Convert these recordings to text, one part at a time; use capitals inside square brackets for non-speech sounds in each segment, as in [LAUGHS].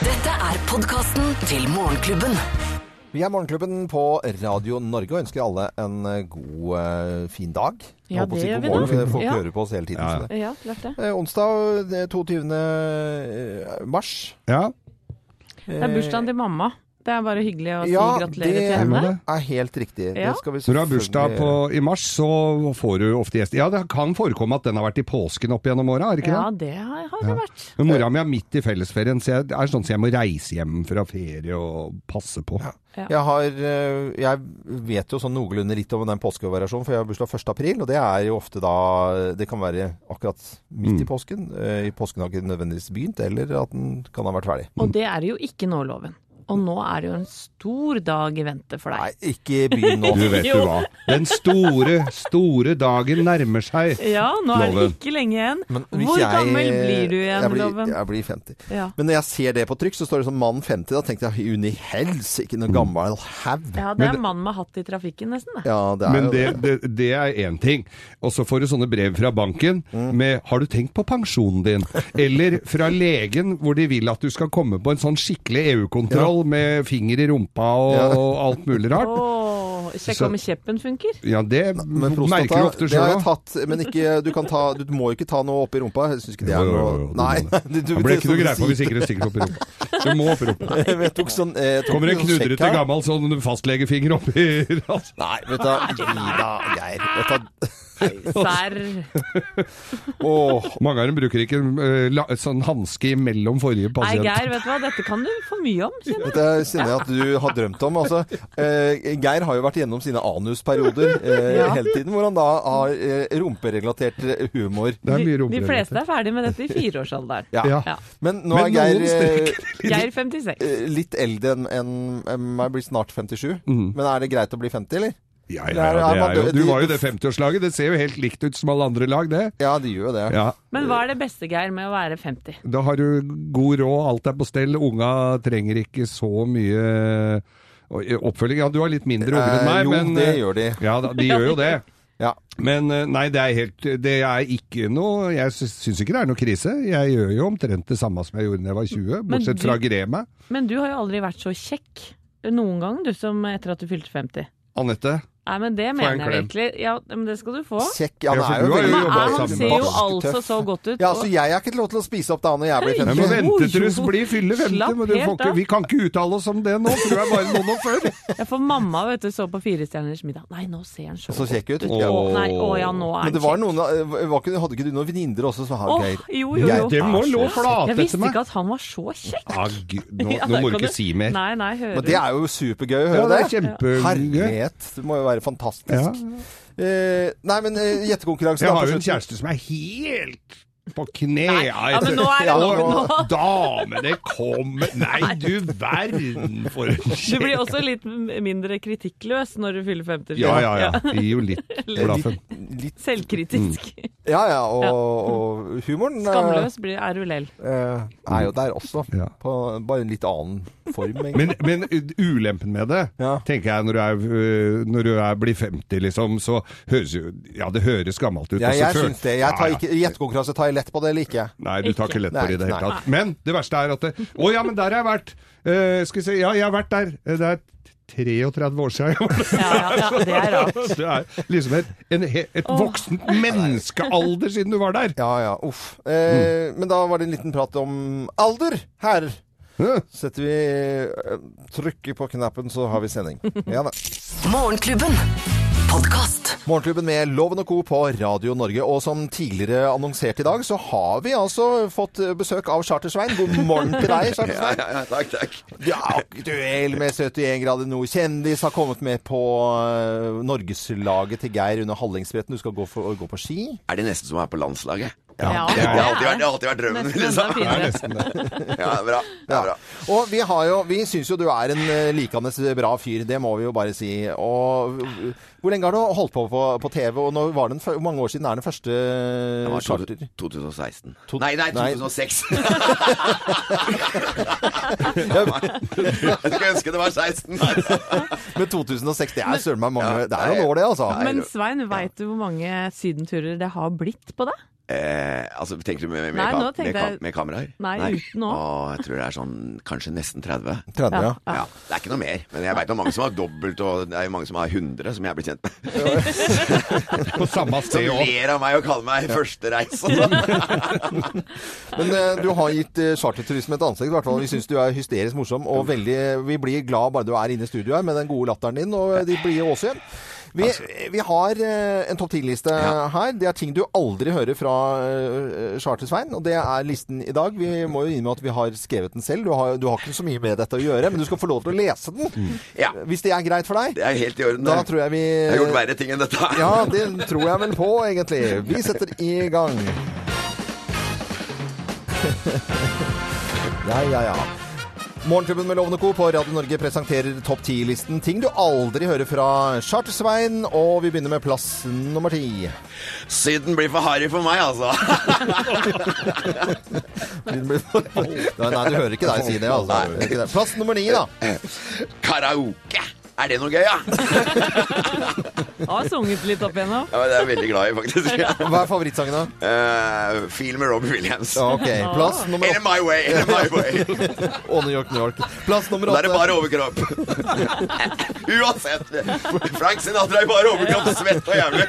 er podkasten til Morgenklubben. Vi er Morgenklubben på Radio Norge og ønsker alle en eh, god, eh, fin dag. Jeg Ja, holdt på å det si god gjør vi morgen, da. for Folk Ja. hører på oss hele tiden. Ja, ja. så det- Ja, klart det. Eh, onsdag det er 22. eh, mars. Ja, Det er bursdagen til mamma. Det er bare hyggelig å si Ja, gratulerer det- til hvem henne. er det? er helt riktig. Ja. Det skal vi Når du har selvfølgelig- bursdag på, i mars, så får du ofte gjester. Ja, det kan forekomme at den har vært i påsken opp gjennom åra, er det ikke Ja, det? det har har det vært. Men mora mi er midt i fellesferien, så jeg, det er sånn at jeg må reise hjem fra ferie og passe på. Ja. Jeg, har, eh, jeg vet jo sånn noenlunde litt om den påskevariasjonen, for jeg har bursdag 1. april, og det er jo ofte da Det kan være akkurat midt Mm. i påsken. Eh, I påsken har ikke nødvendigvis begynt, eller at den kan ha vært ferdig. Og det er jo ikke nå loven. Og nå er det jo en stor dag i vente for Nei, deg. ikke begynn nå. Du vet jo hva. Den store, store dagen nærmer seg. Ja, nå er det Loven. ikke lenge igjen. Men hvis Hvor jeg- gammel blir du igjen, jeg blir, Loven? Jeg blir 50. Ja. Men når jeg ser det på trykk, så står det sånn mann 50. Da tenkte jeg uni helsike, noen gammel haug. ja, det er en mann med hatt i trafikken, nesten. Det. Ja, det er Men jo det, det, det er én ting. Og så får du sånne brev fra banken med 'Har du tenkt på pensjonen din?' Eller fra legen hvor de vil at du skal komme på en sånn skikkelig EU-kontroll med finger i rumpa og, Ja. og [LAUGHS] alt mulig rart. Åh, sjekk Så- om kjeppen funker. Ja, det Men prostata, merker du ofte det har sjøl jeg òg. tatt, men ikke, du, kan ta, du må jo ikke ta noe oppi rumpa. Jeg syns ikke det er Jo, jo, jo, noe jo, du Nei. må [LAUGHS] det. du- du- Det blir ikke som noe du greie på hvis sier. ikke du stikker opp i rumpa. Du må opp i rumpa. [LAUGHS] Jeg tok sånn, eh, jeg tok Kommer en sånn sjekk knudrete her. gammel sånn fastlegefinger oppi [LAUGHS] altså. Nei, vet du hva. Gida, Geir. Vet du hva. Serr. Åh. Mange av dem bruker ikke eh, la, sånn hanske imellom forrige Nei, pasient. Geir, vet du hva, dette kan du for mye om, kjenner jeg. Dette kjenner jeg at du har drømt om. Altså, eh, Geir har jo vært gjennom sine anusperioder eh, Ja. hele tiden, hvor han da har eh, rumperelatert eh, humor. Det er De, mye de romere. fleste er ferdig med dette i fireårsalderen. Ja. Ja. Ja. Men nå er Men noen Geir eh, Geir 56. eh, litt eldre enn enn- enn meg, blir snart 57. Mhm. Men er det greit å bli 50, eller? Ja, ja, ja, det er jo, du var jo det 50-årslaget. Det ser jo helt likt ut som alle andre lag, det. Ja, de gjør jo det. Ja. Men hva er det beste, Geir, med å være 50? Da har du god råd, alt er på stell. Unga trenger ikke så mye eh, oppfølging. Ja, du har litt mindre unger enn Eh, meg, jo, men det eh, gjør de. Ja, da, de gjør jo det. Ja. Men eh, nei, det er helt Det er ikke noe Jeg sy- syns ikke det er noe krise. Jeg gjør jo omtrent det samme som jeg gjorde da jeg var 20, Men bortsett du- fra Grema. Men du har jo aldri vært så kjekk noen gang, du, som etter at du fylte 50. Anette? Nei, men det en mener jeg klem. virkelig. Ja, men det skal du få. Kjekk. Ja, Ja, han for er jo du har jo veldig Men jobba er, han sammen. ser jo Barsk, altså tøff. så godt ut. Ja, og- altså Jeg er ikke lov til å spise opp da når jeg blir Nei, 50. Nei, men Jo, vente til du jo. blir fyller 50, Slapp men du får helt ikke, av. vi kan ikke uttale oss om det nå, for du er bare noen og [LAUGHS] før. Ja, for mamma vet du, så på Fire stjerners middag. Nei, nå ser han så, Så kjekk ut. Å, nei, å ja, nå Men er han det var kjekk. noen, eh, var ikke, hadde ikke du noen venninner også som har Åh, Geir? jo, jo, jo. Geir, Det må er så- lå Jeg flate visste til meg. ikke at han var så kjekk. Ah, gud, nå, [LAUGHS] Ja, nå der må du kan ikke si mer. Nei, nei, hører Men det du. er jo supergøy å Ja, høre det det. er kjempegøy. Herlighet, det må jo være Ja. fantastisk. Eh, nei, men eh, gjettekonkurransen Jeg da har på jo en slutten. kjæreste som er helt på kne. Ja, men nå er det sånn- Ja, nå- nok nå. Dame, det kommer Nei, du verden for en Du blir skje. også litt m- mindre kritikkløs når du fyller 50. Ja, ja, ja. Gir jo [LAUGHS] litt blaffen. Litt, litt, Selvkritisk. ja, ja, og, og humoren eh, Skamløs blir er du lell. eh, er jo der også. Ja. På bare en litt annen [LAUGHS] form, egentlig. Men, men ulempen med det, Ja. tenker jeg, når du, er, øh, når du er, blir 50, liksom, så høres jo Ja, det høres gammelt ut. Ja, og så jeg føl- syns det. Jeg tar Altså, Ja, ja. ikke, I gjettekonkurranse tar jeg lett på det, eller ikke? Nei, du tar ikke lett på det i det Nei, hele tatt. Men det verste er at det, Å ja, men der har jeg vært! Eh, skal vi se, ja, jeg har vært der. Eh, Det er 33 år siden jeg var der. Ja, ja, ja, [LAUGHS] det er rart. Det er liksom et, en, he- et voksent menneskealder siden du var der. Ja ja, uff. Eh, Men da var det en liten prat om alder her. Ja. Setter vi eh, trykket på knappen, så har vi sending. Ja da. Morgenklubben. Podkast. Morgenklubben med Loven og Co. på Radio Norge. Og som tidligere annonsert i dag, så har vi altså fått besøk av Charter-Svein. God morgen til deg, Charter-Svein. Ja, ja, takk, takk. Ja, aktuell med 71 grader nord. Kjendis har kommet med på eh, norgeslaget til Geir under Hallingsbretten. Du skal gå, for, gå på ski. Er det nesten som å være på landslaget? Ja, Det har det alltid vært, er det har alltid vært drømmen. [LAUGHS] nesten enda Liksom. finere. Ja, det er bra. Det er bra. Og vi, har jo, vi syns jo du er en eh, likandes bra fyr, det må vi jo bare si. Og eh, hvor lenge har du holdt på på, på TV, og når var den, fø- hvor mange år siden er den første Det var to- charter? 2016. To- Nei, nei, nei. [LAUGHS] 2006. Jeg skulle ønske det var 16. Men 2006, det er søren meg mange Ja, Det er jo nå, det, altså. Nei, Men Svein, veit du hvor mange sydenturer det har blitt på deg? Eh, altså, Tenker du med, med, Nei, kam- nå tenkte med, kam- jeg- med kameraer? Nei, uten nå. Å, jeg tror det er sånn kanskje nesten 30. 30, ja. Ja, Det er ikke noe mer. Men jeg veit om mange som har dobbelt, og det er jo mange som har 100, som jeg er blitt kjent med. På samme Som sted òg. ler av meg og kaller meg førstereis. og sånn. Men eh, du har gitt eh, charterturisme et ansikt, i hvert fall. Vi syns du er hysterisk morsom, og veldig, eh, vi blir glad bare du er inne i studio her med den gode latteren din og eh, de blide åsøyen. Vi, vi har eh, en topp 10-liste Ja. her. Det er ting du aldri hører fra eh, Charter-Svein, og det er listen i dag. Vi må jo innrømme at vi har skrevet den selv. Du har, du har ikke så mye med dette å gjøre, men du skal få lov til å lese den. Mm. Ja, Hvis det er greit for deg. det er helt i orden. Da det. tror jeg vi Jeg har gjort verre ting enn dette. her. Eh, Ja, det tror jeg vel på, egentlig. Vi setter i gang. Ja, ja, ja. Morgenklubben med Lovende Co. på Radio Norge presenterer topp 10-listen ting du aldri hører fra Charter-Svein, og vi begynner med plass nummer [LAUGHS] ti. [LAUGHS] Syden blir for harry for meg, altså. [LAUGHS] Nei, nei, du hører ikke deg si det, altså. Nei. Du hører ikke det. Plass nummer ni, da. Karaoke! Er det noe gøy, ja? [LAUGHS] ja? Jeg har sunget litt opp igjennom. men Det er jeg veldig glad i, faktisk. Hva er favorittsangen, da? [LAUGHS] Eh, Feel med Robbie Williams. Ja, Ok, plass nummer In åtte. my way, in [LAUGHS] my way. Å, New York, New York. Plass nummer Da er det bare åtte. overkropp. [LAUGHS] Uansett. Frank Sinatra i bare overkropp, svett og [LAUGHS] jævlig.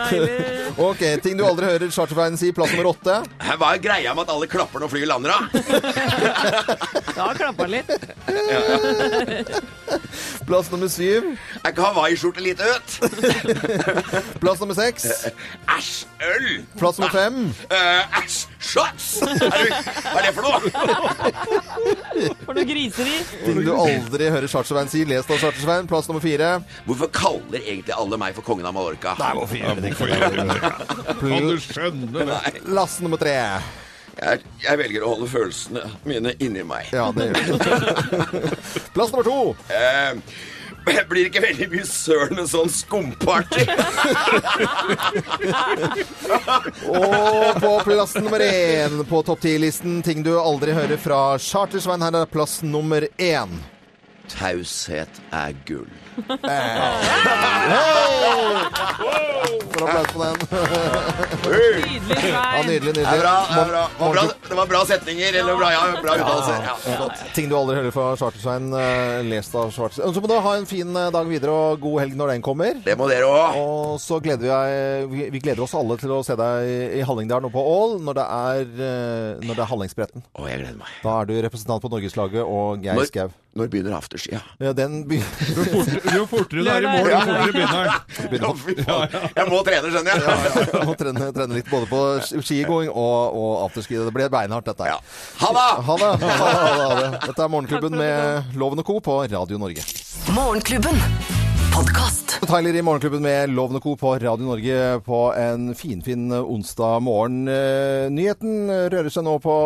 Deilig. Ok, ting du aldri hører Charter-Svein si. Plass nummer åtte. Hva er greia med at alle klapper når flyet lander, da? Da klappa jeg litt. Plass nummer syv. Er ikke hawaiiskjorte litt ut? Plass nummer Eh, seks. Æsj, øl! Plass nummer fem. Eh, Æsj, shots! Er du- Hva er det for noe? For noe griseri. Ting du aldri hører Chartersveien si. Lest av Chartersveien. Plass nummer fire. Hvorfor kaller egentlig alle meg for kongen av Mallorca? Kan du skjønne det? Lasse nummer tre. Jeg, jeg velger å holde følelsene mine inni meg. Ja, det gjør du. [LAUGHS] Plass nummer to. Eh, jeg blir ikke veldig mye søl med sånn skumparty. Og på plass nummer én på topp ti-listen ting du aldri hører fra Chartersveien. Her er plass nummer én. [LAUGHS] Taushet er gull. Får applaus på den. Nydelig Ja, nydelig, svein. Det, er nydelig. bra, det, er bra. Det, var bra, det var bra setninger. Eller bra, ja, bra uttalelser. Ja. Ting du aldri hører fra Chartersveien. eh, Lest av Chartersveien. Så må du ha en fin eh, dag videre, og god helg når den kommer. Det må dere òg. Og så gleder vi, deg- vi, vi gleder oss alle til å se deg i- i Hallingdal nå på Ål når det er, eh, når det er Hallingsbretten. Å, jeg gleder meg. Da er du representant på Norgeslaget og Geir Når, Skau. når begynner afterski? Ja. Ja, den begynner [LAUGHS] Jo fortere, jo fortere du er i mål, jo fortere begynner den. [LAUGHS] Ja, fy faen. Jeg må trene, skjønner jeg. [LAUGHS] å trene, trene litt både på sk- skigåing og, og afterski. Det blir beinhardt, dette her. Ja. Ha det! Ha det! Ha det, ha det, ha det. Dette er Morgenklubben med Loven og Co. på Radio Norge. Morgenklubben. Podkast. Tyler i Morgenklubben med Loven og Co. på Radio Norge på en finfin eh, onsdag morgen. Eh, Nyheten rører seg nå på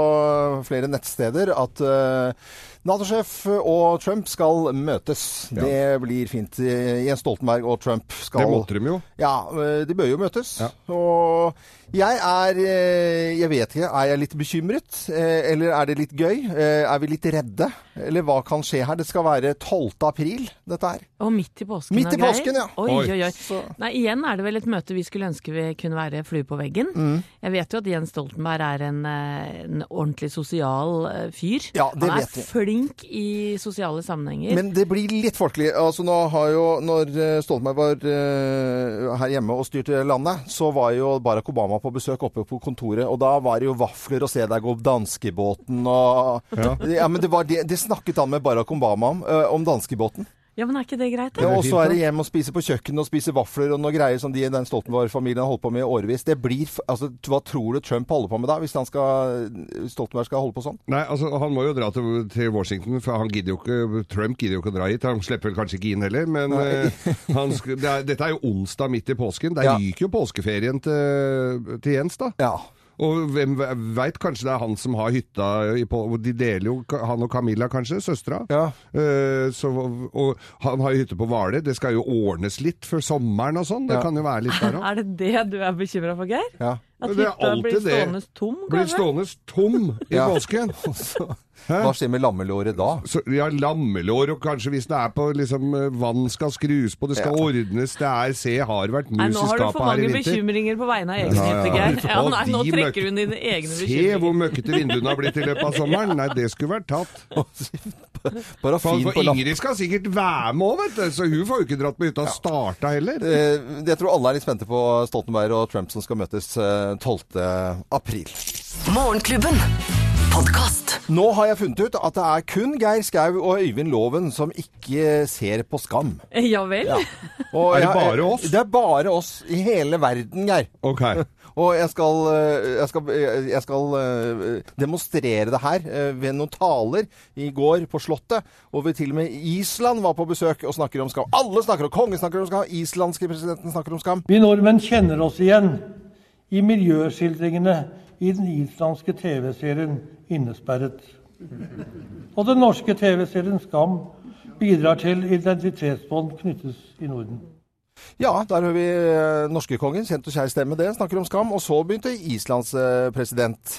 flere nettsteder at eh, Nato-sjef og Trump skal møtes. Det blir fint. Eh, Jens Stoltenberg og Trump skal Det måtte de jo. Ja, eh, de bør jo møtes. Og jeg er eh, Jeg vet ikke. Er jeg litt bekymret? Eh, Eller er det litt gøy? Eh, Er vi litt redde? Eller hva kan skje her? Det skal være 12. april, dette her. Og midt i påsken Midt i og greier. påsken, ja. Oi, Oi. oi, oi. Nei, igjen er det vel et møte vi skulle ønske vi kunne være flue på veggen. Mm. Jeg vet jo at Jens Stoltenberg er en, eh, en ordentlig sosial eh, fyr. Ja, det Han er vet vi. flink i sosiale sammenhenger. Men det blir litt folkelig. Altså, nå har jo, når eh, Stoltenberg var eh, her hjemme og styrte landet, så var jo Barack Obama på besøk oppe på kontoret, og da var det jo vafler og se deg gå opp danskebåten og ja. men det, var det, det snakket han med Barack Obama om, eh, om danskebåten. ja, men er ikke det greit? Ja, Da? og så er det hjem og spise på kjøkkenet og spise vafler og noe greier som de, den Stoltenberg-familien har holdt på med i årevis. Det blir, f- altså, hva tror du Trump holder på med da, hvis han skal, Stoltenberg skal holde på sånn? Nei, altså Han må jo dra til, til Washington, for han gidder jo ikke, Trump gidder jo ikke å dra hit. Han slipper vel kanskje ikke inn heller, men eh, han sk det er, dette er jo onsdag midt i påsken. Der Ja. ryker jo påskeferien til, til Jens, da. Ja. Og hvem veit, kanskje det er han som har hytta i på, og De deler jo, han og Camilla kanskje, søstera. Ja. Eh, så, og han har jo hytte på Hvaler. Det skal jo ordnes litt før sommeren og sånn. Det Ja. [LAUGHS] kan jo være litt der òg. Er det det du er bekymra for, Geir? Ja. [LAUGHS] At Men det er hytta blir alltid det. stående tom, Blir kanskje? stående tom i Ja. påsken. Hæ? Hva skjer med lammelåret da? Så, ja, lammelår, og kanskje hvis det er på liksom, eh, vann skal skrus på, det skal ordnes, det er se har vært Nei, mus nå i har du for skapet her mange i vinter. bekymringer på vegne av egen Ja, ja, hytte, ja. Geir. Ja, Og nei, nå de trekker hun dine egne Se hvor bekymringer. møkkete vinduene har blitt i løpet av sommeren! Nei, det skulle vært tatt. For, Parafin på for lamp... Ingrid skal sikkert være med òg, vet du, så hun får jo ikke dratt på hytta og starta heller. Eh, Jeg tror alle er litt spente på Stoltenberg og Trump som skal møtes eh, 12. april. Morgenklubben. Podkast. Nå har jeg funnet ut at det er kun Geir Skau og Øyvind Loven som ikke ser på Skam. [LAUGHS] Ja vel? Og Er det jeg- bare oss? Det er bare oss i hele verden, Geir. Ok. Og jeg skal, eh, jeg skal, eh, jeg skal eh, demonstrere det her eh, ved noen taler i går på Slottet. Og vi til og med Island var på besøk og snakker om skam. Alle snakker om kongen snakker om skam, islandske presidenten snakker om skam. Vi nordmenn kjenner oss igjen i miljøskildringene i den islandske TV-serien 'Innesperret'. Og den norske TV-serien 'Skam' bidrar til identitetsbånd knyttes i Norden. Ja, der hører vi eh, norske kongen, kjent og kjær stemme det, snakker om skam. Og så begynte Islands eh, president.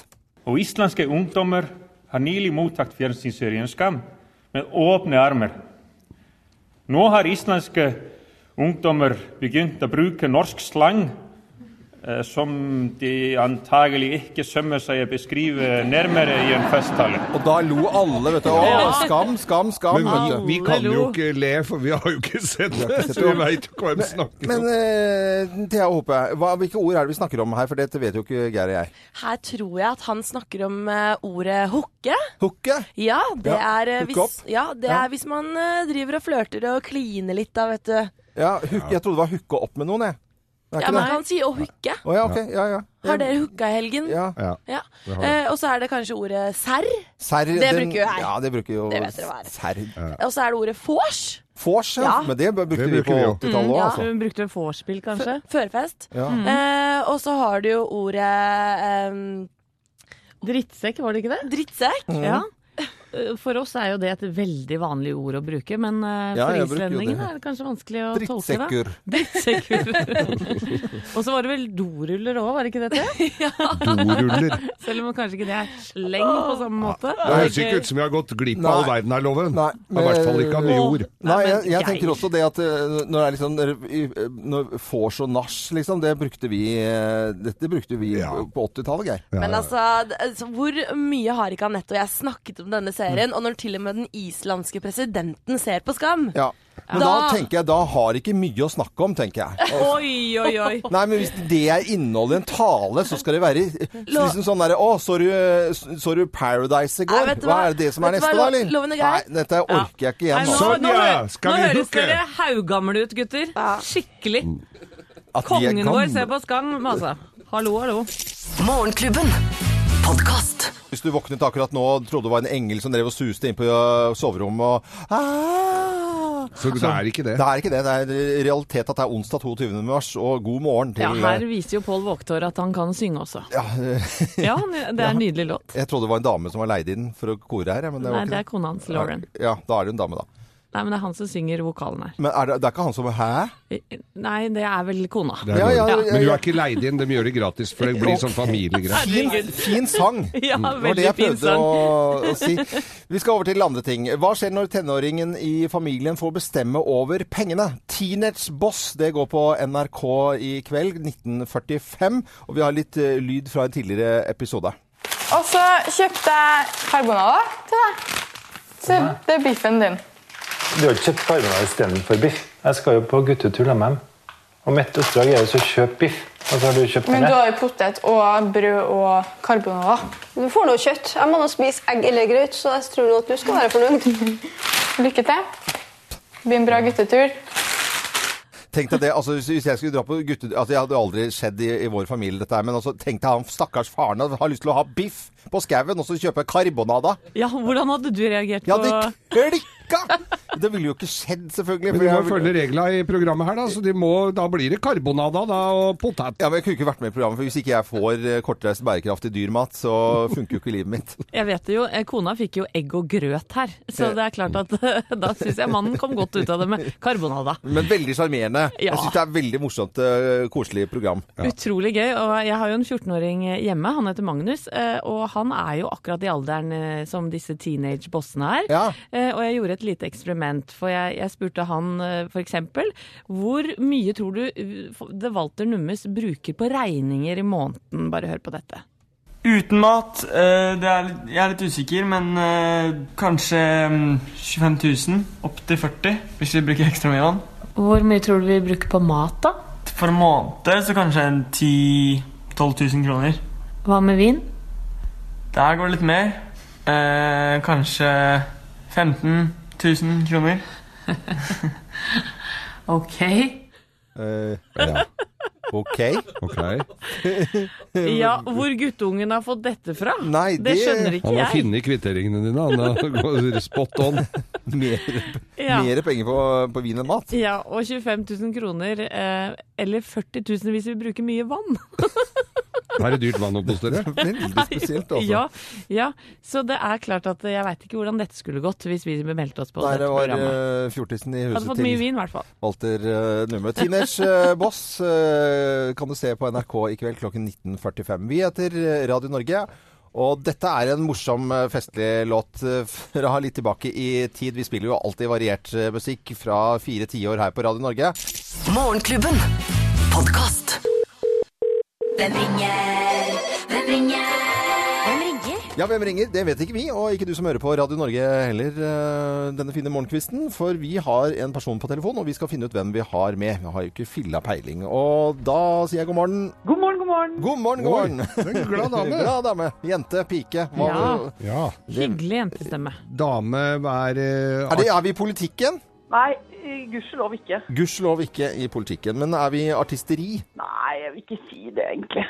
Og íslenske ungdommer har nylig mottatt fjernsynsserien Skam med åpne armer. Nå har islandske ungdommer begynt å bruke norsk slang eh, som de antagelig ikke sømmer seg å beskrive nærmere i en festtale. Og da lo alle, vet du. Å, skam, skam, skam. Men vet vi, du. vi kan jo Hallo. ikke le, for vi har jo ikke sett det, sett så vi det. veit ikke hva de snakker Men om. eh, Thea og Håpe, hva, hvilke ord er det vi snakker om her? For dette vet jo ikke Geir og jeg. Her tror jeg at han snakker om eh, ordet hooke. Hooke? Ja, det Ja, er, eh, hooke hvis, opp. ja, det Ja. er hvis man eh, driver og flørter og kliner litt, da, vet du. Ja, hook, jeg trodde det var hooke opp med noen, jeg. Det er Ja, ikke man det? kan si å hooke. Å ja, ok. Ja, ja. Har dere hooka i helgen? ja. Ja. Ja. det har Eh, og så er det kanskje ordet serr. Serr, Det bruker jo jeg. Ja, det bruker jo Det vet dere hva er. Serr. Og så er det ordet vors. Vors, ja. Ja. Mm, Men det brukte Det vi bruker på vi jo. 80-tallet òg, ja. altså. Hun brukte vorspiel, kanskje? Førfest. Ja. Eh, og så har du jo ordet ehm, Drittsekk, var det ikke det? drittsekk. Ja. Eh, For oss er jo det et veldig vanlig ord å bruke, men eh, Ja, for jeg bruker jo det. islendingene er det kanskje vanskelig å tolke det. Drittsekker. [LAUGHS] Drittsekker. og så var det vel doruller òg, var det ikke det? [LAUGHS] Thea? Doruller. Selv om kanskje ikke det er sleng på samme måte. [LAUGHS] Det høres ikke ut som vi har gått glipp av all Nei. verden her, Loven. Nei, Det er I hvert fall ikke av nye men- ord. Nei, Nei, jeg, jeg men Geir. tenker også det at eh, når det er liksom eh, i- Når vors og nach, liksom, det brukte vi eh, Dette brukte vi Ja. på 80-tallet, Geir. Ja, Men ja. altså, d- altså, hvor mye har ikke Anette og jeg snakket om denne serien? Og når til og med den islandske presidenten ser på Skam. Ja. Men da, Da- tenker jeg, da har ikke mye å snakke om, tenker jeg. Oi, oi, oi. Nei, men hvis det er innholdet i en tale, så skal det være liksom sånn derre Å, så du, så du Paradise i går? Nei, vet du hva? hva? er det det som er Vet du neste, hva, da, Lo- eller? Loven og Nei, Geir? dette orker jeg ikke Nei, igjen. nå, altså. nå, Sonja, skal nå vi høres hooke? dere haugamle ut, gutter. Ja. Skikkelig. At de er Kongen vår gamle. ser på Skam, altså. Hallo, hallo. Morgenklubben. Podkast. Hvis du våknet akkurat nå og trodde det var en engel som drev og suste inn på ø, soverommet og ah, Så det er ikke det. Det er ikke det. Det er realitet at det er onsdag 22. mars, og god morgen til Ja, her viser jo Pål Vågtår at han kan synge også. Ja, ø, Ja, det er en nydelig låt. eh, Jeg trodde det var en dame som var leid inn for å kore her, ja, men det Nei, var det ikke er det. kona hans, Lauren. Ja, da er det jo en dame, da. Nei, men det er han som synger vokalene. Men er det, det er ikke han som er Hæ? Nei, det er vel kona. Det er Ja, ja, dårlig. ja, ja. Men hun er ikke leid inn, de gjør det gratis, for det blir sånn familiegreier. Fin, fin sang. [LAUGHS] Mm. Ja, Det var det veldig jeg fin prøvde sang. å, å si. Vi skal over til andre ting. Hva skjer når tenåringen i familien får bestemme over pengene? Teenage Boss, det går på NRK i kveld, 1945. Og vi har litt eh, lyd fra en tidligere episode. Og så kjøpte jeg carbonara til deg. Se, det er biffen din. Du har ikke kjøpt carbonara istedenfor biff. Jeg skal jo på guttetur med dem. Og mitt oppdrag er jo så å kjøpe biff. Og så har du kjøpt Men den du her. har jo potet og brød og carbonara. Du får noe kjøtt. Jeg må nå spise egg eller grøt, så jeg tror nå at du skal være fornøyd. Lykke til. Det blir en bra guttetur. Tenk deg det, altså hvis- Hvis jeg skulle dra på gutte... Altså, det hadde jo aldri skjedd i, i vår familie, dette her. Men altså, tenk deg han stakkars faren han har lyst til å ha biff. på skauen og så kjøpe karbonada. Ja, hvordan hadde du reagert Ja, på det klikka! Det ville jo ikke skjedd, selvfølgelig. Men for du må jeg- følge regla i programmet her, da. Så de må, da blir det karbonada da, og potet. Ja, men Jeg kunne ikke vært med i programmet, for hvis ikke jeg får eh, kortreist, bærekraftig dyrmat, så funker jo ikke livet mitt. Jeg vet det jo, eh, kona fikk jo egg og grøt her, så det er klart at [LAUGHS] da syns jeg mannen kom godt ut av det med karbonada. Men veldig sjarmerende. Ja. Jeg syns det er veldig morsomt, eh, koselig program. Utrolig gøy. og Jeg har jo en 14-åring hjemme, han heter Magnus. eh, Og han er jo akkurat i alderen eh, som disse teenage-bossene er. Eh, Og jeg gjorde et lite eksperiment, for jeg, jeg spurte han f.eks.: Hvor mye tror du eh, det Walter Nummes bruker på regninger i måneden? Bare hør på dette. Uten mat eh, det er, litt- Jeg er litt usikker, men eh, kanskje mm, 25 000. Opp til 40 hvis vi bruker ekstra mye vann. Hvor mye tror du vi bruker på mat, da? For en måned så kanskje en 10 000-12 000 kroner. Hva med vin? Der går det litt mer. Eh, kanskje 15 000 kroner. Ok. Eh, ja. OK. [LAUGHS] Ja, hvor guttungen har fått dette fra? Nei, det, skjønner ikke Han har jeg. funnet kvitteringene dine, [LAUGHS] han. har- Spot on. Mer, Ja. mer penger på, på vin enn mat. Ja, og 25 000 kroner, eh, eller 40 000 hvis vi bruker mye vann. Da er det dyrt vann å postere. Veldig spesielt, altså. Ja, ja, så det er klart at jeg veit ikke hvordan dette skulle gått hvis vi meldte oss på Nei, dette det var programmet. eh, fjortisen i Hadde huset fått mye vin, i hvert fall. Walter eh, Numme. Teenage eh, Boss eh, kan du se på NRK i kveld klokken 19.45. Vi heter eh, Radio Norge. Og dette er en morsom, eh, festlig låt eh, fra litt tilbake i tid. Vi spiller jo alltid variert eh, musikk fra fire tiår her på Radio Norge. Morgenklubben. Podkast. Hvem ringer? Hvem ringer? Hvem ringer? Ja, hvem ringer? Det vet ikke vi, og ikke du som hører på Radio Norge heller eh, denne fine morgenkvisten. For vi har en person på telefon, og vi skal finne ut hvem vi har med. Vi har jo ikke filla peiling. Og da sier jeg god morgen. God morgen, god morgen. God morgen, god Oi, morgen. [LAUGHS] det er en glad dame. glad dame. Jente, pike. Ja. Ja. Hyggelig jentestemme. Dame hver eh, Er, det, er vi i politikken? Nei, eh, gudskjelov ikke. Gudskjelov ikke i politikken, men er vi i artisteri? Nei, jeg vil ikke si det, egentlig.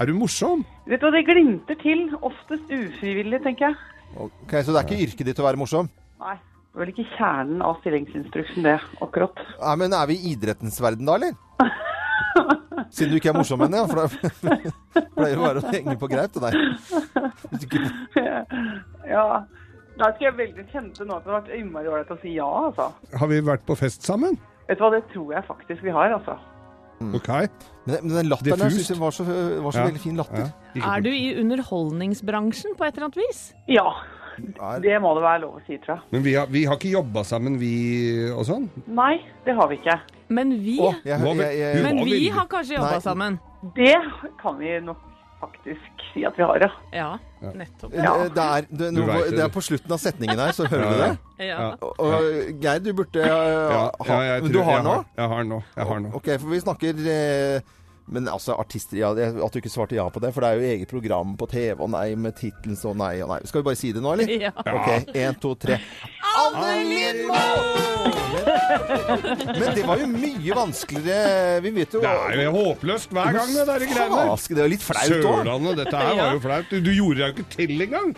Er du morsom? Vet du hva, det glimter til. Oftest ufrivillig, tenker jeg. Ok, Så det er ikke yrket ditt å være morsom? Nei, det er vel ikke kjernen av stillingsinstruksen, det, akkurat. Nei, men er vi i idrettens verden da, eller? Siden du ikke er morsom ennå, for det [LAUGHS] pleier å være å henge på greit til deg. Ja. Da skulle jeg veldig kjente nå at det hadde vært innmari ålreit å si ja, altså. Har vi vært på fest sammen? Vet du hva, det tror jeg faktisk vi har, altså. Mm. Ok. Men, den latteren jeg synes var så, var så veldig fin latter. Er du i underholdningsbransjen på et eller annet vis? Ja. Det må det være lov å si, tror jeg. Men vi har, vi har ikke jobba sammen, vi og sånn? Nei, det har vi ikke. Men vi, Å, jeg- Hva vel- jeg- jeg- men Hva vi vil- har kanskje jobba Nei. sammen? Det kan vi nok faktisk si at vi har, ja. Ja, nettopp. Det, det, er, det, Du nå, vet det, det er på slutten av setningen her, så hører du det? Ja. Og- Og Geir, du burde eh, ha jeg Men tror- Du har jeg nå? Jeg har nå. Jeg har nå. Ok, for vi snakker eh, Men altså, artister ja, det- At du ikke svarte ja på det, for det er jo eget program på TV, og nei, med tittelen så nei og nei. Skal vi bare si det nå, eller? Ja. [LAUGHS] Ok, én, to, tre. Anne Lindmo! Men det var jo mye vanskeligere. Vi vet jo Det er jo håpløst hver gang, det der greiene. Faske, det er jo litt flaut også. Sørlandet, dette her var jo flaut. Du, du gjorde deg jo ikke til engang.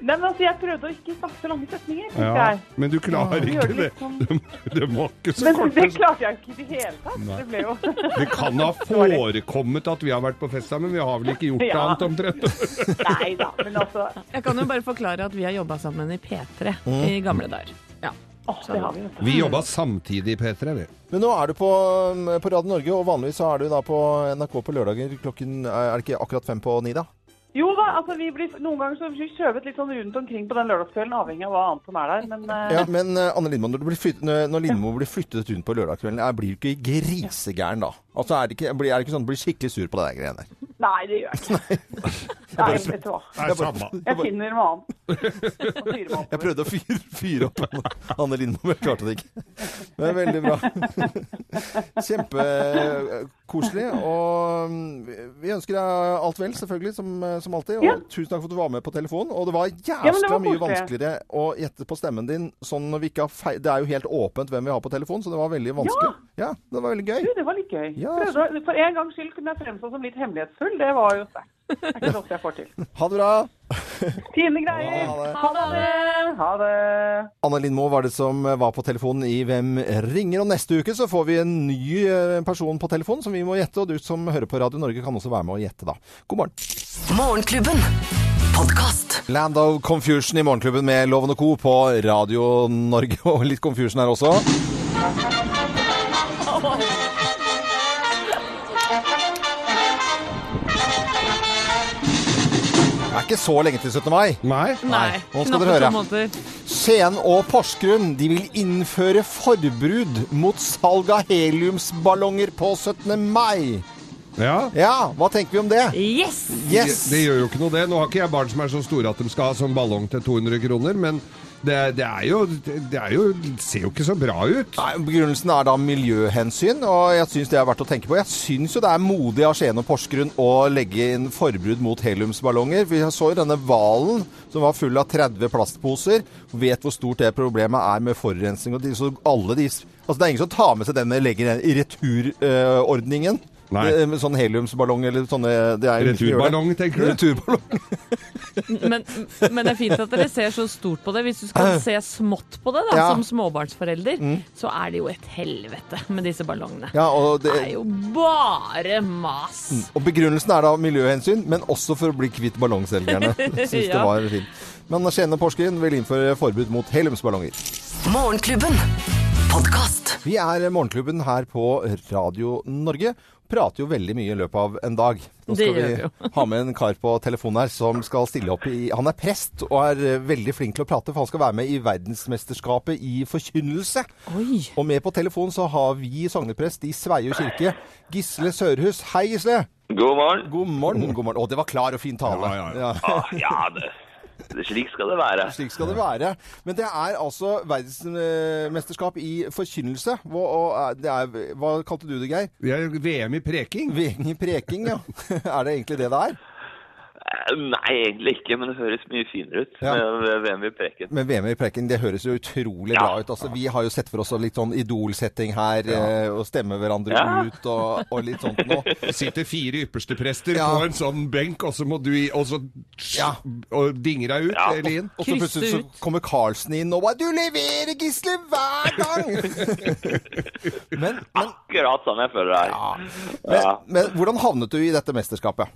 Nei, men altså, jeg prøvde å ikke snakke så lange setninger, tenkte Ja, jeg. men du klarer ikke Gjør det. litt sånn- Det, det var ikke så Men kort. [LAUGHS] det klarte jeg jo ikke i det hele tatt. Nei. Det ble jo [LAUGHS] Det kan ha forekommet at vi har vært på fest sammen, vi har vel ikke gjort Ja. annet omtrent. Nei da, men altså Jeg kan jo bare forklare at vi har jobba sammen i P3 Mm. i gamle dager. Ja. det har vi, vet Vi jobba samtidig i P3, vi. Men nå er du på, på Radio Norge, og vanligvis så er du da på NRK på lørdager klokken eh, Er det ikke akkurat fem på ni, da? Jo da, altså vi blir noen ganger så blir vi skjøvet litt sånn rundt omkring på den lørdagskvelden, avhengig av hva annet som er der. Men eh, Ja, men eh, Anne Lindmo, når, du blir flytt, når når Lindmo blir flyttet rundt på lørdagskvelden, er- blir du ikke grisegæren da? Altså, er det ikke, blir, er det ikke sånn at du blir skikkelig sur på det der greiene der? nei, det gjør jeg [LAUGHS] ikke. Nei, vet du hva. Jeg bare- jeg Jeg bare- finner noe [LAUGHS] annet. å fyre meg opp Jeg prøvde å fyre, fyre opp Anne, Anne Lindmo, men jeg klarte det ikke. Men veldig [LAUGHS] bra. Kjempekoselig. Og mm, vi ønsker deg alt vel, selvfølgelig, som, eh, som alltid. Og Ja. tusen takk for at du var med på telefonen. Og det var Ja, men det jævla var mye koselig. vanskeligere å gjette på stemmen din sånn når vi ikke har feil Det er jo helt åpent hvem vi har på telefon, så det var veldig vanskelig. Ja, det var veldig gøy. Du, det var litt gøy. Ja, Prøvde, å- for en gangs skyld kunne jeg fremstå som litt hemmelighetsfull. Det var jo sterkt. Det er ikke så ofte jeg får til. Ha det bra! Fine greier! Ha det! Ha det! Anne Lindmo var det som eh, var på telefonen i Hvem ringer? Og neste uke så får vi en ny eh, person på telefonen som vi må gjette, og du som hører på Radio Norge kan også være med og gjette da. God morgen. Morgenklubben. Podkast. Land of Confusion i Morgenklubben med Loven og Co. på Radio Norge, [LAUGHS] og litt confusion her også. Det er ikke så lenge til 17. mai. Nei. Nå skal dere høre. Skien og Porsgrunn de vil innføre forbud mot salg av heliumsballonger på 17. mai. Ja. hva tenker vi om det? Yes! Det, det gjør jo ikke noe, det. Nå har ikke jeg barn som er så store at de skal ha sånn ballong til 200 kroner, men det, det er jo Det er jo, det ser jo ikke så bra ut. Nei, Begrunnelsen er da miljøhensyn, og jeg syns det er verdt å tenke på. Jeg syns jo det er modig av Skien og Porsgrunn å legge inn forbud mot heliumsballonger. Vi så jo denne hvalen som var full av 30 plastposer. Vet hvor stort det problemet er med forurensning. Og de, så alle de, altså det er ingen som tar med seg den og legger den i returordningen. Nei. Med sånn heliumsballong eller sånne det er jo ingen som gjør det. Returballong, tenker du? Returballong. Men, men det er fint at dere ser så stort på det. Hvis du skal se smått på det da, Ja. som småbarnsforelder, Mm. så er det jo et helvete med disse ballongene. Ja, og Det er jo bare mas. Mm, Og begrunnelsen er da miljøhensyn, men også for å bli kvitt [LAUGHS] ballongselgerne. Syns det Ja. var fint. Men Skien og Porsgrunn vil innføre forbud mot heliumsballonger. Morgenklubben. Podkast. Vi er Morgenklubben her på Radio Norge. Prater jo veldig mye i løpet av en dag. Nå Det skal gjør vi jo. [LAUGHS] vi ha med en kar på telefonen her som skal stille opp i Han er prest og er eh, veldig flink til å prate, for han skal være med i verdensmesterskapet i forkynnelse. Og med på telefon så har vi sogneprest i Sveio kirke, Gisle Sørhus. Hei, Gisle. God morgen. God morgen. god morgen. Å, det var klar og fin tale. Ja. Ah, ja, det, det, slik skal det være. Slik skal det være. Men det er altså verdensmesterskap i forkynnelse. Hvor, og det er, hva kalte du det, Geir? VM i preking. VM i preking, ja. [LAUGHS] er det egentlig det det er? Eh, Nei, egentlig ikke, men det høres mye finere ut eh, Ja. med med VM i preken. Men VM i preking, det høres jo utrolig bra ut. Altså, vi har jo sett for oss litt sånn idolsetting her, eh, og stemme hverandre Ja. ut og, og litt sånt [LAUGHS] nå. Det sitter fire ypperste prester Ja. på en sånn benk, og så må du i, og så og dinger deg ut eller inn. Og så plutselig så kommer Carlsen inn og bare 'Du leverer, Gisle, hver gang!' Akkurat sånn jeg føler det er. men, Ja. men hvordan havnet du i dette mesterskapet?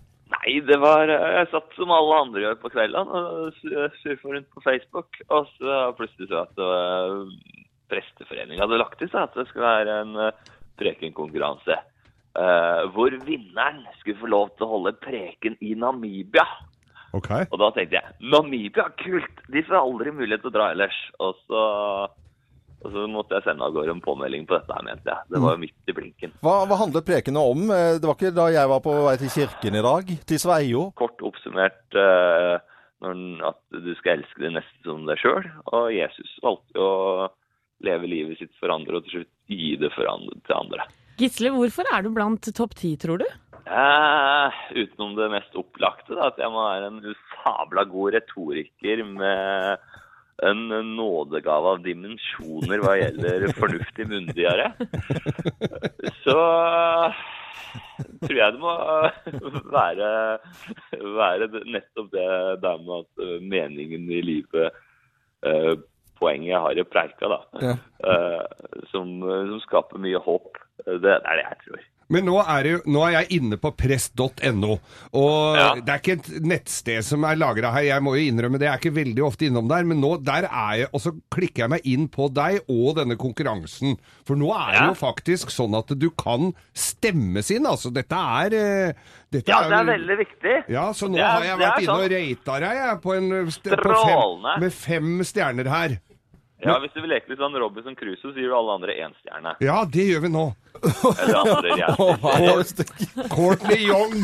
Nei, det var eh, Jeg satt som alle andre gjør på kveldene og surfa rundt på Facebook, og så plutselig så jeg at eh, Presteforeningen hadde lagt til seg at det skulle være en eh, prekenkonkurranse. eh, hvor vinneren skulle få lov til å holde preken i Namibia. Og da tenkte jeg Namibia, kult! De får aldri mulighet til å dra ellers. Og så, og så måtte jeg sende av gårde en påmelding på dette, her, mente jeg. Det var jo midt i blinken. Hva, hva handlet prekene om? Eh, Det var ikke da jeg var på vei til kirken i dag, til Sveio. Kort oppsummert eh, når, den- at du skal elske din neste som deg sjøl. Og Jesus valgte å leve livet sitt for andre, og til slutt gi det for andre, til andre. Gisle, hvorfor er du blant topp ti, tror du? Eh, utenom det mest opplagte, da, at jeg må være en sabla god retoriker med en nådegave av dimensjoner hva gjelder fornuftig munndiaré. Så tror jeg det må være, være nettopp det der med at eh, meningen i livet, eh, poenget jeg har i preika, da, Ja. eh, som, som skaper mye håp. Det er det jeg tror. Men nå er, det, jo- nå er jeg inne på prest.no, og det er ikke et nettsted som er lagra her, jeg må jo innrømme det, jeg er ikke veldig ofte innom der, men nå der er jeg, og så klikker jeg meg inn på deg og denne konkurransen. For nå er det jo faktisk sånn at du kan stemmes inn, altså. Dette er eh, dette Ja, det er veldig viktig. Ja, så nå Det er- har jeg det vært er sånn. inne og sant. rata deg, jeg, på en eh, st- på fem, Strålende. med fem stjerner her. Ja, hvis du vil leke litt sånn Robinson Crusoe, så gir du alle andre én [LAUGHS] stjerne. Ja, det gjør vi nå. Eller andre hva gjerne. Courtney Young!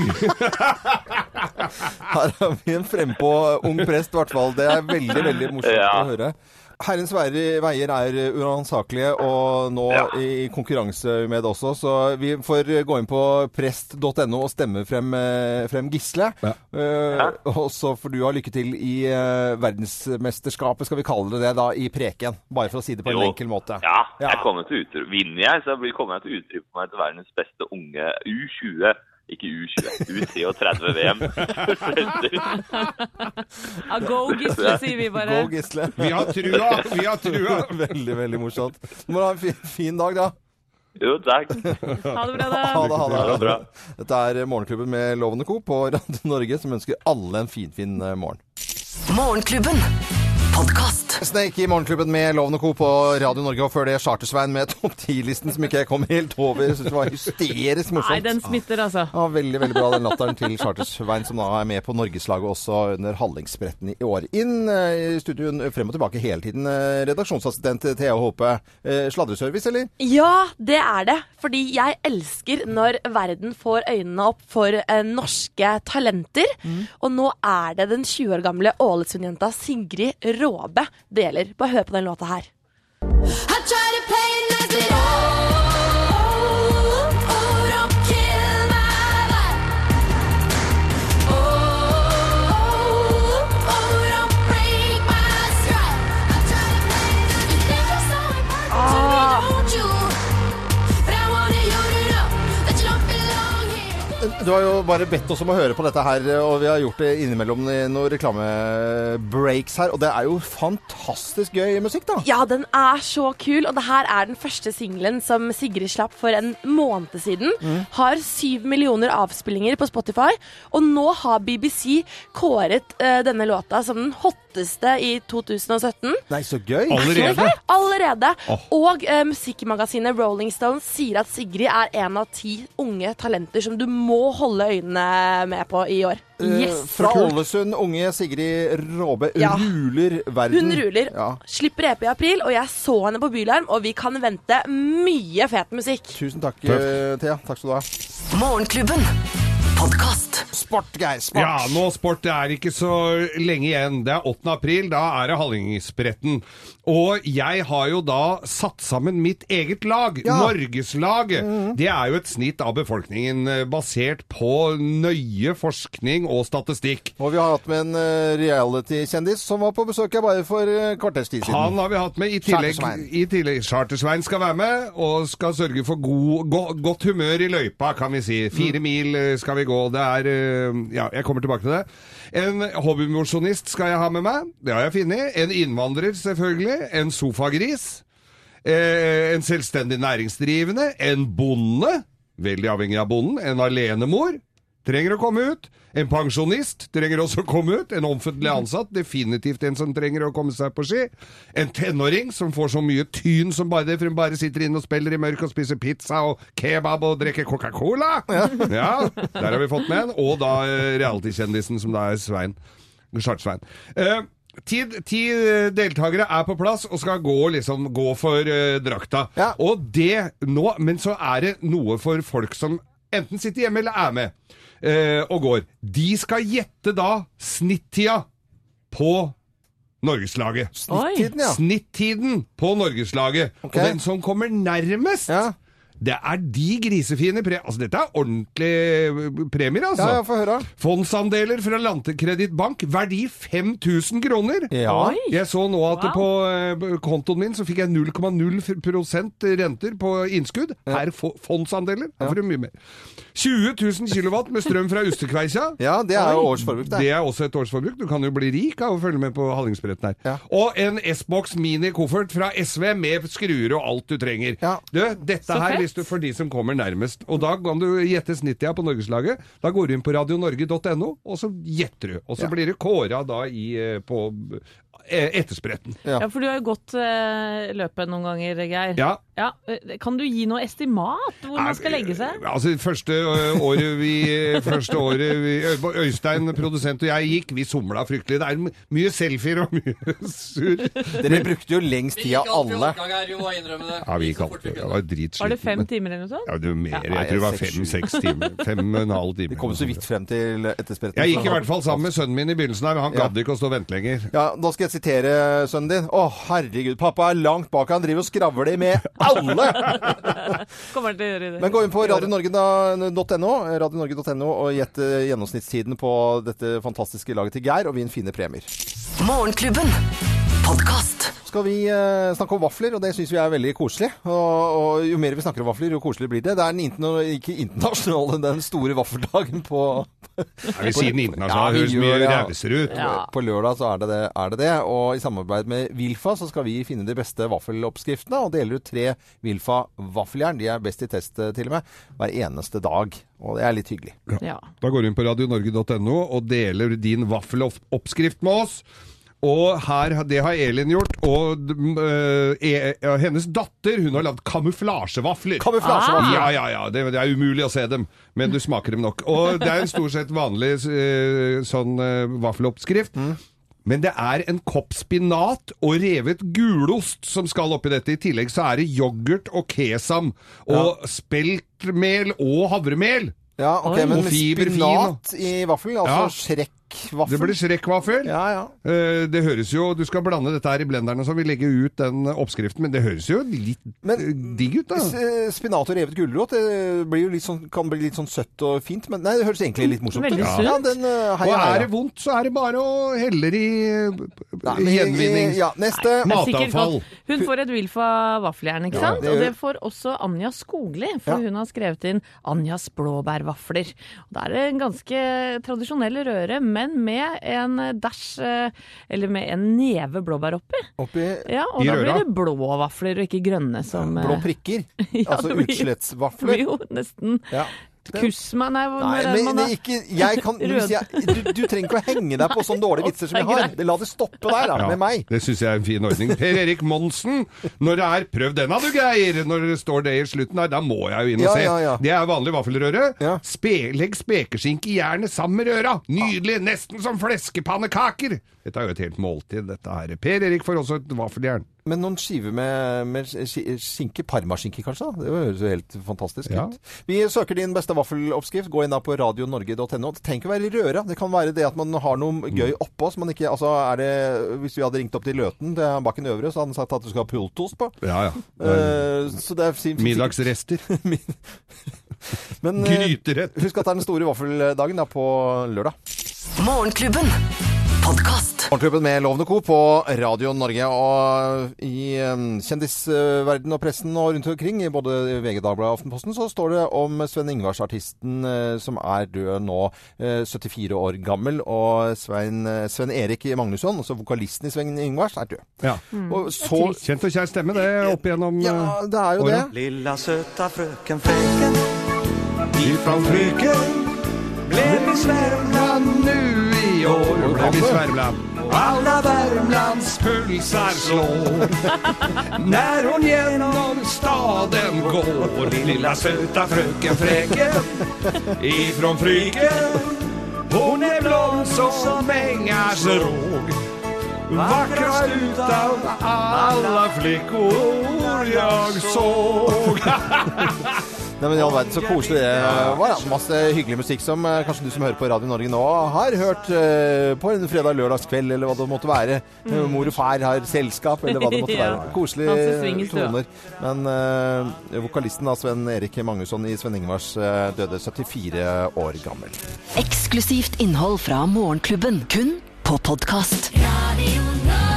Her har vi en frempå ung prest, i hvert fall. Det er veldig, veldig morsomt Ja. å høre. Herrens veier veier er uransakelige, og nå i konkurranse med det også. Så vi får gå inn på prest.no og stemme frem, eh, frem Gisle. Eh, Og så får du ha lykke til i eh, verdensmesterskapet, skal vi kalle det det, da, i preken. Bare for å si det på en Jo. enkel måte. Ja, jeg kommer til utro. Vinner jeg, så blir- kommer jeg til å utrymme meg til verdens beste unge U20 Ikke U21, [LAUGHS] U33-VM. Ja, go Gisle, sier vi bare. Gå, Gisle. [LAUGHS] Vi har trua, vi har trua. veldig, veldig morsomt. Du må ha en fin, fin dag, da. Jo, takk. Ha det bra, da. Ha det, ha Ha det det bra. Dette er Morgenklubben med Lovende Co. på Radio Norge, som ønsker alle en finfin fin eh, morgen. Morgenklubben. Podkast. Snake i Morgenklubben med Loven og Co. på Radio Norge, og før det Chartersveien med Topp 10-listen, som ikke jeg kom helt over. Jeg synes det var hysterisk morsomt. Nei, den smitter, altså. Ja, veldig veldig bra den latteren til Chartersveien, som da er med på norgeslaget også under Hallingsbretten i år. Inn eh, i studioen eh, frem og tilbake hele tiden. eh, Redaksjonsassistent Thea Håpe. Eh, Sladreservice, eller? Ja, det er det. Fordi jeg elsker når verden får øynene opp for eh, norske talenter. Og nå er det den 20 år gamle Ålesund-jenta Sigrid Råbe det gjelder. Bare hør på den låta her. Du har jo bare bedt oss om å høre på dette her, og vi har gjort det innimellom i noen reklamebreaks her. Og det er jo fantastisk gøy musikk, da. Ja, den er så kul, og det her er den første singelen som Sigrid slapp for en måned siden. Mm. Har syv millioner avspillinger på Spotify, og nå har BBC kåret eh, denne låta som den hotteste i 2017. Nei, så gøy. Allerede? Allerede. Åh. Og eh, musikkmagasinet Rolling Stone sier at Sigrid er en av ti unge talenter som du må holde øynene med på i år. Eh, Fra Kult. Ålesund, unge Sigrid Råbe Ja. ruler verden. Hun ruler. Mm. Ja. Slipper EP i april, og jeg så henne på Bylarm, og vi kan vente mye fet musikk. Tusen takk, Tøft. eh, Thea. Takk skal du ha. Morgenklubben. Podkast. Sport, Geir. Sport. Ja, nå sport. Det er ikke så lenge igjen. Det er 8. april, da er det Hallingsbretten. Og jeg har jo da satt sammen mitt eget lag, Norgeslaget. Det er jo et snitt av befolkningen eh, basert på nøye forskning og statistikk. Og vi har hatt med en eh, reality-kjendis som var på besøk her bare for eh, kvarters tid siden. Han har vi hatt med. I tillegg, Chartersveien. i tillegg Chartersveien skal være med, og skal sørge for god, go, godt humør i løypa, kan vi si. Fire mil eh, skal vi gå. Det er eh, Ja, jeg kommer tilbake til det. En hobbymosjonist skal jeg ha med meg. Det har jeg funnet. En innvandrer, selvfølgelig. En sofagris. Eh, en selvstendig næringsdrivende. En bonde. Veldig avhengig av bonden. En alenemor. Trenger å komme ut. En pensjonist trenger også å komme ut. En offentlig ansatt, definitivt en som trenger å komme seg på ski. En tenåring som får så mye tyn som bare det, for hun bare sitter inne og spiller i mørket og spiser pizza og kebab og drikker Coca-Cola. Ja, der har vi fått med en. Og da eh, reality-kjendisen som da er Svein. Chartsvein. Eh, Ti, ti eh, deltakere er på plass og skal gå, liksom, gå for eh, drakta. Og det nå Men så er det noe for folk som enten sitter hjemme eller er med eh, og går. De skal gjette da snittida på Norgeslaget. Snittiden, ja. Snittiden på Norgeslaget. Og den som kommer nærmest, det er de grisefine pre... Altså, dette er ordentlige premier, altså. Ja, ja, få høre. Fondsandeler fra Lantekreditt Bank, verdi 5000 kroner. Ja. Oi. Jeg så nå at på eh, kontoen min så fikk jeg 0,0 prosent renter på innskudd. Her får fondsandeler. Her får du mye mer. 20 000 kilowatt med strøm fra Ustekveisa. Ja, det er jo Oi. årsforbruk, det. Det er også et årsforbruk. Du kan jo bli rik av å følge med på Hallingsbretten her. Og en S-boks mini-koffert fra SV med skruer og alt du trenger. Du, dette Så her fett. hvis du, for de som kommer nærmest. Og da kan du gjette snittida på Norgeslaget. Da går du inn på radionorge.no, og så gjetter du. Og så Ja. blir det kåra da i, eh, på eh, etterspretten. Ja, for du har jo gått eh, løpet noen ganger, Geir. Ja. eh, Kan du gi noe estimat hvor man skal legge seg? Altså, første ø, året vi, eh, første året vi Ø- Øystein, produsent og jeg gikk, vi somla fryktelig. Det er m- mye selfier og mye [LAUGHS] surr. Dere brukte jo lengst tid av alle. Ja, vi gikk alltid. Jeg var dritsliten. Var det fem men- timer eller noe sånt? Ja, det var mer. Ja, jeg tror det var seks, sju. fem-seks timer. Fem og en halv time. Vi kom så vidt frem til etterspretten. Jeg gikk i hvert fall sammen med sønnen min i begynnelsen her, men han Ja. gadd ikke å stå og vente lenger. Ja, Nå skal jeg sitere sønnen din. Å, herregud. Pappa er langt bak. Han driver og skravler med alle! Kommer til å gjøre det. Men gå inn på radionorge.no radionorge.no og gjett eh, gjennomsnittstiden på dette fantastiske laget til Geir, og vinn fine premier. Morgenklubben. Podkast. skal vi eh, snakke om vafler, og det syns vi er veldig koselig. Og, og jo mer vi snakker om vafler, jo koseligere blir det. Det er den interna- ikke internasjonale, den store vaffeldagen på Ja, vi sier den internasjonale, det høres mye rausere ut. Ja. Ja. På lørdag så er det, det er det det. Og i samarbeid med Vilfa så skal vi finne de beste vaffeloppskriftene, og deler ut tre Vilfa vaffeljern. De er best i test eh, til og med, hver eneste dag. Og det er litt hyggelig. Da går du inn på radionorge.no og deler din vaffeloppskrift med oss. Og her, det har Elin gjort, og mm, øh, e- ja, hennes datter hun har lagd kamuflasjevafler. Kamuflasjevafler. Ja, ja, ja. Det, det er umulig å se dem, men du smaker dem nok. Og det er en stort sett vanlig øh, sånn øh, vaffeloppskrift. Mm. Men det er en kopp spinat og revet gulost som skal oppi dette. I tillegg så er det yoghurt og kesam og speltmel og havremel. Ja, ok, Oi. men Og fiberfin, spinat i vaffel, altså Ja. skrekkvaffel. Det blir skrekkvaffel. Eh, Det høres jo, Du skal blande dette her i blenderen, og så vi legger ut den oppskriften, men det høres jo litt eh, digg ut, da. S- eh, Spinat og revet gulrot det blir jo litt sånn, kan bli litt sånn søtt og fint, men nei, det høres egentlig litt morsomt ut. Veldig Ja. sunt. Ja, den, eh, og heia, er heia. det vondt, så er det bare å helle det i eh, men- gjenvinning. ja, neste. Det er sikkert Matavfall. godt. Hun får et Wilfa vaffeljern, ikke Ja, sant? det gjør- Og det får også Anja Skogli, for hun har skrevet inn Anjas blåbærvafler. Og Det er det en ganske tradisjonell røre, men med en dæsj, eh, eller med en neve blåbær oppi. Ja, og I da røra? blir det blå vafler og ikke grønne som eh, Blå prikker, [LAUGHS] Ja, altså det blir- utslettsvafler. Det blir jo nesten Ja. Kuss meg, nei, hva- Nei, hva er det men, man men har? ikke, jeg kan, hvis jeg, du, du trenger ikke å henge deg på sånne [LAUGHS] dårlige vitser som jeg har. La det stoppe der, da, Ja, med meg. Det syns jeg er en fin ordning. Per Erik Monsen, når det er 'prøv denne, du Geir', når det står det i slutten her, da må jeg jo inn og Ja, se. ja, ja. Det er vanlig vaffelrøre. Spe, legg spekeskinke i jernet sammen med røra. Nydelig! Nesten som fleskepannekaker! Dette er jo et helt måltid, dette her. Per Erik får også et vaffeljern. Men noen skiver med, med ski- skinke, parmaskinke kanskje? da? Det høres jo helt fantastisk Ja. ut. Vi søker din beste vaffeloppskrift. Gå inn da på radionorge.no. Det trenger ikke å være røra. Det kan være det at man har noe gøy oppå. Så man ikke, altså, er det, hvis vi hadde ringt opp til Løten, til Bakken Øvre, så hadde han sagt at du skal ha pultost på. Ja, ja. Eh, så det er sin- [LAUGHS] Middagsrester. Men, eh, Husk at det er den store vaffeldagen da, på lørdag. Morgenklubben. Podkast. Morgenklubben med Lovende Co. på Radio Norge og i eh, kjendisverden og pressen og rundt omkring, i både VG, Dagbladet og Aftenposten, så står det om Sven Ingvars-artisten eh, som er død nå, eh, 74 år gammel, og Svein, eh, Sven Erik Magnusson, altså vokalisten i Sven Ingvars, er død. Ja. Og så Kjent og kjær stemme, det, opp igjennom Ja, eh, det er jo det. åra. Lilla söta fröken Fräken ifrån Fryken blev i Värmland nu i år Kom i Svermland. Alla Värmlands pulsar slår När hon genom staden går Lilla söta fröken Fräken ifrån Fryken Hon är blond som ängars råg Vackrast utav alla flickor jag såg Nei, men i all verden, så koselig det var. Da. Masse hyggelig musikk som eh, kanskje du som hører på Radio Norge nå, har hørt eh, på en fredag-lørdagskveld, eller hva det måtte være. Eh, Mor og far har selskap, eller hva det måtte Ja. være. Han som svinger Koselige i stua. toner. Men eh, vokalisten da, Sven Erik Magnusson i Sven Ingvars eh, døde 74 år gammel. Eksklusivt innhold fra Morgenklubben. Kun på podkast. Radio Norge.